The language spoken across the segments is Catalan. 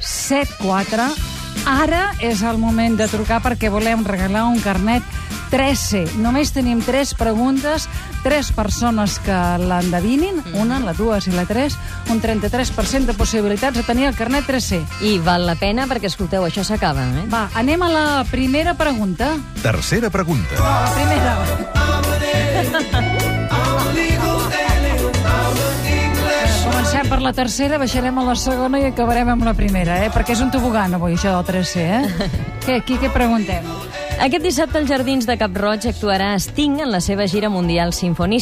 932017474. Ara és el moment de trucar perquè volem regalar un carnet 13. Només tenim 3 preguntes, 3 persones que l'endevinin, una, la dues i la tres, un 33% de possibilitats de tenir el carnet 3C. I val la pena perquè, escolteu, això s'acaba, eh? Va, anem a la primera pregunta. Tercera pregunta. La primera. Comencem per la tercera, baixarem a la segona i acabarem amb la primera, eh? Perquè és un tobogan avui, això del 3C, eh? què, aquí què preguntem? Aquest dissabte als Jardins de Cap Roig actuarà Sting en la seva gira mundial Symphony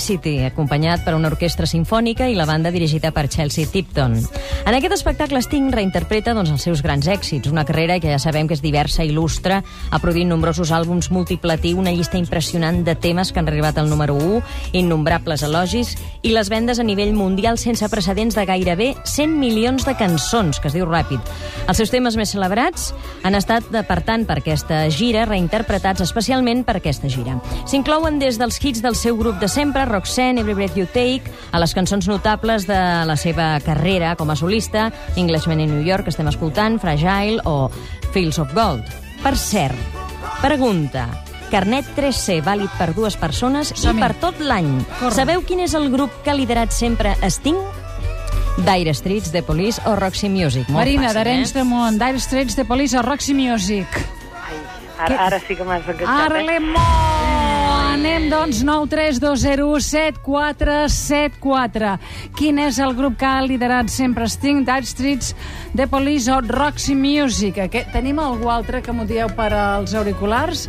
acompanyat per una orquestra sinfònica i la banda dirigida per Chelsea Tipton. En aquest espectacle Sting reinterpreta doncs, els seus grans èxits, una carrera que ja sabem que és diversa i il·lustre, ha produït nombrosos àlbums multiplatí, una llista impressionant de temes que han arribat al número 1, innombrables elogis i les vendes a nivell mundial sense precedents de gairebé 100 milions de cançons, que es diu ràpid. Els seus temes més celebrats han estat, de- per tant, per aquesta gira, reinterpretats especialment per aquesta gira. S'inclouen des dels hits del seu grup de sempre, Roxanne, Every Breath You Take, a les cançons notables de la seva carrera com a solista, Englishman in New York, que estem escoltant, Fragile o Fields of Gold. Per cert, pregunta, Carnet 3C, vàlid per dues persones i Som-hi. per tot l'any. Corre. Sabeu quin és el grup que ha liderat sempre Sting? Dire Streets, The Police o Roxy Music. Molt Marina, fàcil, d'Arenys eh? de Mont, Dire Straits de Police a Roxy Music. Ara, ara sí que m'has enganxat. Ah, Ara eh? l'hem Anem, doncs, 932017474. Quin és el grup que ha liderat sempre Sting, Dire Streets, The Police o Roxy Music? Aquest, tenim algú altre que m'ho dieu per als auriculars?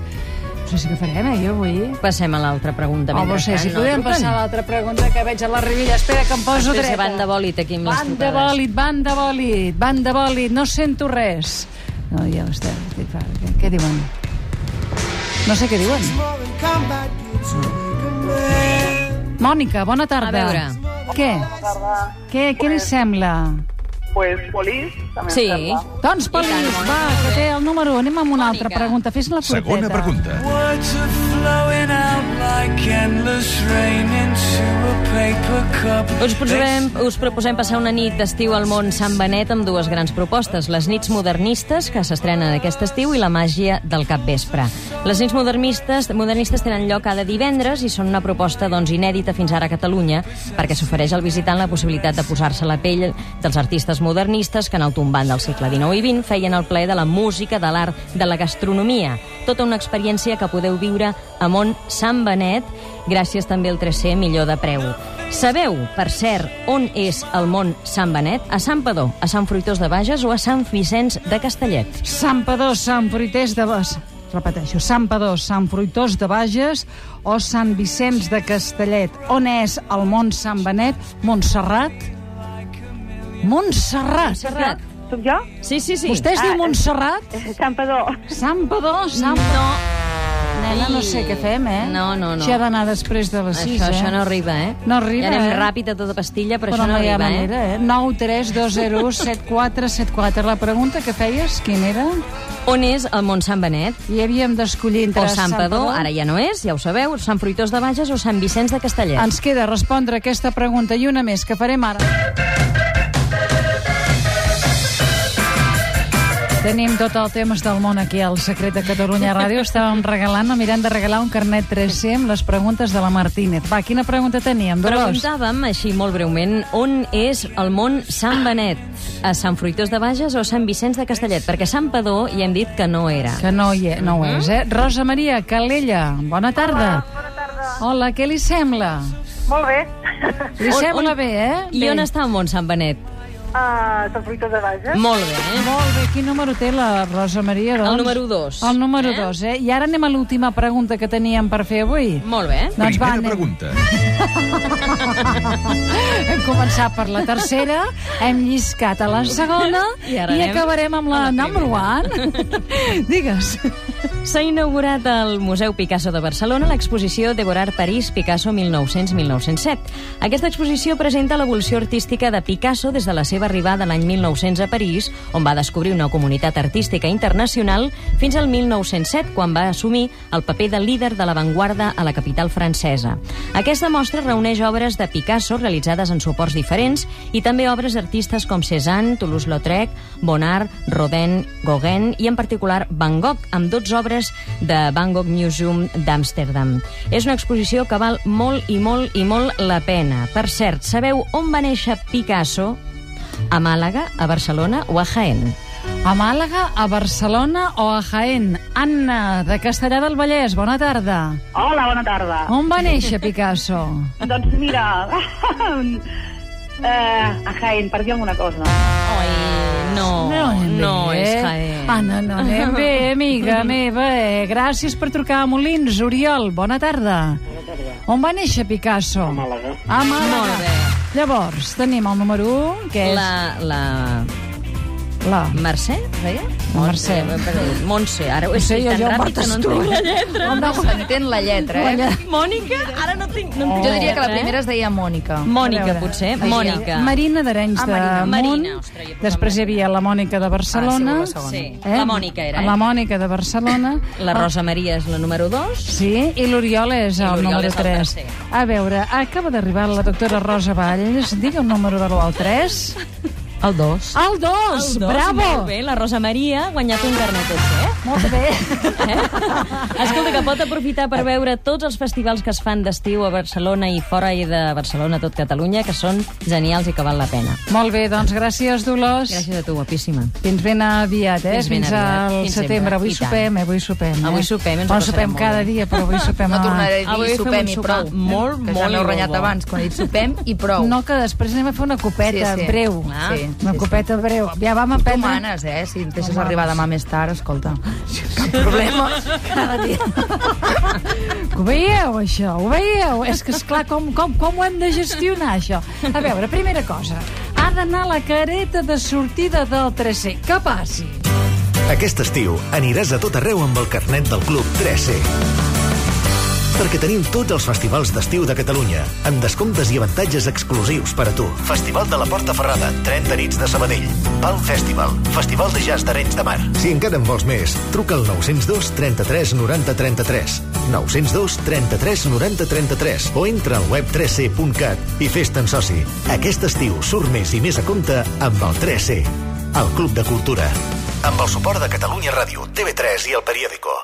No sé si que farem, eh, jo avui. Passem a l'altra pregunta. Oh, no mentrestant, sé, si podem truquen? passar a l'altra pregunta que veig a la ribilla. Espera, que em poso Després dreta. van de bòlit aquí amb les Van de trucades. bòlit, van de bòlit, van de bòlit. No sento res. No, ja ho estem. Estic fart. Què, què diuen? No sé què diuen. Mònica, bona tarda. A veure. Què? Què, què li sembla? Pues Polís, també Sí. em sembla. Doncs Pelís, va, que té el número. Anem amb una altra Mònica. pregunta. Fes la porteta. Segona pregunta. Words are flowing out like endless rain into a paper cup. Us proposem, us proposem passar una nit d'estiu al món Sant Benet amb dues grans propostes. Les nits modernistes, que s'estrenen aquest estiu, i la màgia del capvespre. Les nits modernistes, modernistes tenen lloc cada divendres i són una proposta doncs, inèdita fins ara a Catalunya, perquè s'ofereix al visitant la possibilitat de posar-se a la pell dels artistes modernistes que en el tombant del segle XIX i XX feien el plaer de la música, de l'art, de la gastronomia. Tota una experiència que podeu viure a Mont Sant Benet, gràcies també al 3C millor de preu. Sabeu, per cert, on és el món Sant Benet? A Sant Padó, a Sant Fruitós de Bages o a Sant Vicenç de Castellet? Sant Padó, Sant Fruiters de Bages, repeteixo, Sant Padó, Sant Fruitós de Bages o Sant Vicenç de Castellet. On és el Mont Sant Benet? Montserrat? Montserrat! Serrat? Soc jo? Sí, sí, sí. Vostè es diu Montserrat? Campador. Sant Padó, Sant Padó... Nena, no sé què fem, eh? No, no, no. Això ha d'anar després de les 6, Això, eh? això no arriba, eh? No arriba, Ja anem eh? ràpid a tota pastilla, però, Però això no, no hi ha arriba, eh? manera, eh? 9 3 2 0 7 4 7 4. La pregunta que feies, quina era? On és el Mont Sant Benet? I havíem d'escollir entre O Sant Padó, ara ja no és, ja ho sabeu, Sant Fruitós de Bages o Sant Vicenç de Castellet. Ens queda respondre aquesta pregunta i una més que farem ara. Tenim tot el temps del món aquí al Secret de Catalunya Ràdio. Estàvem regalant, mirant de regalar un carnet 3C amb les preguntes de la Martínez. Va, quina pregunta teníem, Dolors? Preguntàvem, així molt breument, on és el món Sant Benet? A Sant Fruitós de Bages o Sant Vicenç de Castellet? Perquè Sant Padó ja hem dit que no era. Que no, hi he, no ho és, Mm-hmm. eh? Rosa Maria Calella, bona tarda. Bona tarda. Hola, què li sembla? Molt bé. Li On- sembla on- bé, eh? I Bé. on està el món Sant Benet? Uh, Sant Fruitós de Bages. Molt bé, eh? Molt bé, quin número té la Rosa Maria, doncs? El número dos. El número Eh? 2, eh? I ara anem a l'última pregunta que teníem per fer avui. Molt bé. Doncs Primera va, anem. pregunta. Hem començat per la tercera, hem lliscat a la segona I ara i anem acabarem amb la, a la number one. Digues. S'ha inaugurat al Museu Picasso de Barcelona l'exposició Devorar París Picasso 1900-1907. Aquesta exposició presenta l'evolució artística de Picasso des de la seva arribada l'any 1900 a París, on va descobrir una comunitat artística internacional, fins al 1907, quan va assumir el paper de líder de l'avantguarda a la capital francesa. Aquesta mostra reuneix obres de Picasso realitzades en suports diferents i també obres d'artistes com Cézanne, Toulouse-Lautrec, Bonnard, Rodin, Gauguin i en particular Van Gogh, amb 12 obres de Van Gogh Museum d'Amsterdam. És una exposició que val molt i molt i molt la pena. Per cert, sabeu on va néixer Picasso? A Màlaga, a Barcelona o a Jaén? A Màlaga, a Barcelona o a Jaén? Anna, de Castellà del Vallès, bona tarda. Hola, bona tarda. On va néixer Picasso? Doncs mira, eh, a Jaén, per dir alguna cosa. Oi, no, anem no bé. és Jaén. Anna, Ah, no anem bé, amiga meva. Eh? Gràcies per trucar a Molins. Oriol, bona tarda. Bona tarda. On va néixer Picasso? A Màlaga. A Màlaga. Molt bé. Llavors, tenim el número 1, que és... La, la La. Mercè, deia? La Mercè. Eh, perdó, Montse, ara ho he Sí, jo- escrit tan jo em ràpid que no en portes tu. tinc la lletra. No s'entén la lletra, eh? Mònica, ara no tinc... No en tinc Jo diria que la lletra, eh? primera es deia Mònica. A Mònica, veure. potser. Mònica. Marina d'Arenys Ah, de Marina. Munt. Marina, ostres, jo he posat Després hi havia la Mònica de Barcelona. Ah, sí, la segona. Sí, la Mònica era. La Eh? Mònica de Barcelona. La Rosa Maria és la número 2. Sí, i l'Oriol és el l'Oriol número és el 3. tercer. A veure, acaba d'arribar la doctora Rosa Valls. Digue el número de l'1 al 3. El 2. El 2! Bravo! Molt bé, la Rosa Maria ha guanyat un carnet OC. Molt bé. Eh? Escolta, que pot aprofitar per veure tots els festivals que es fan d'estiu a Barcelona i fora i de Barcelona a tot Catalunya, que són genials i que val la pena. Molt bé, doncs gràcies, Dolors. Gràcies a tu, guapíssima. Fins ben aviat, eh? Fins ben aviat. al Fins sempre. setembre. Avui I tant. sopem, eh? Avui sopem, eh? Avui sopem, ens Bueno, ho passarem sopem molt cada bé. dia, però avui sopem... No a- tornaré a Avui dir fem sopem un i sopar prou. Ah, molt, que molt ja m'heu renyat bo. abans, quan he dit sopem i prou. No, que després anem a fer una copeta Sí, sí. breu. Ah, sí, una sí, copeta breu. Ja vam Tu aprendre... manes, eh? Si em deixes arribar demà més tard, escolta, cap problema. Cada dia. Ho veieu, això? Ho veieu? És que, esclar, com, com, com ho hem de gestionar, això? A veure, primera cosa. Ha d'anar la careta de sortida del 3C. Que passi. Aquest estiu aniràs a tot arreu amb el carnet del Club 3C. Perquè tenim tots els festivals d'estiu de Catalunya, amb descomptes i avantatges exclusius per a tu. Festival de la Porta Ferrada, 30 nits de Sabadell, Pal Festival, Festival de Jazz d'Arenys de Mar. Si encara en vols més, truca al 902 33 90 33, 902 33 90 33 o entra al web 3c.cat i fes-te'n soci. Aquest estiu surt més i més a compte amb el 3C, el Club de Cultura. Amb el suport de Catalunya Ràdio, TV3 i El Periódico.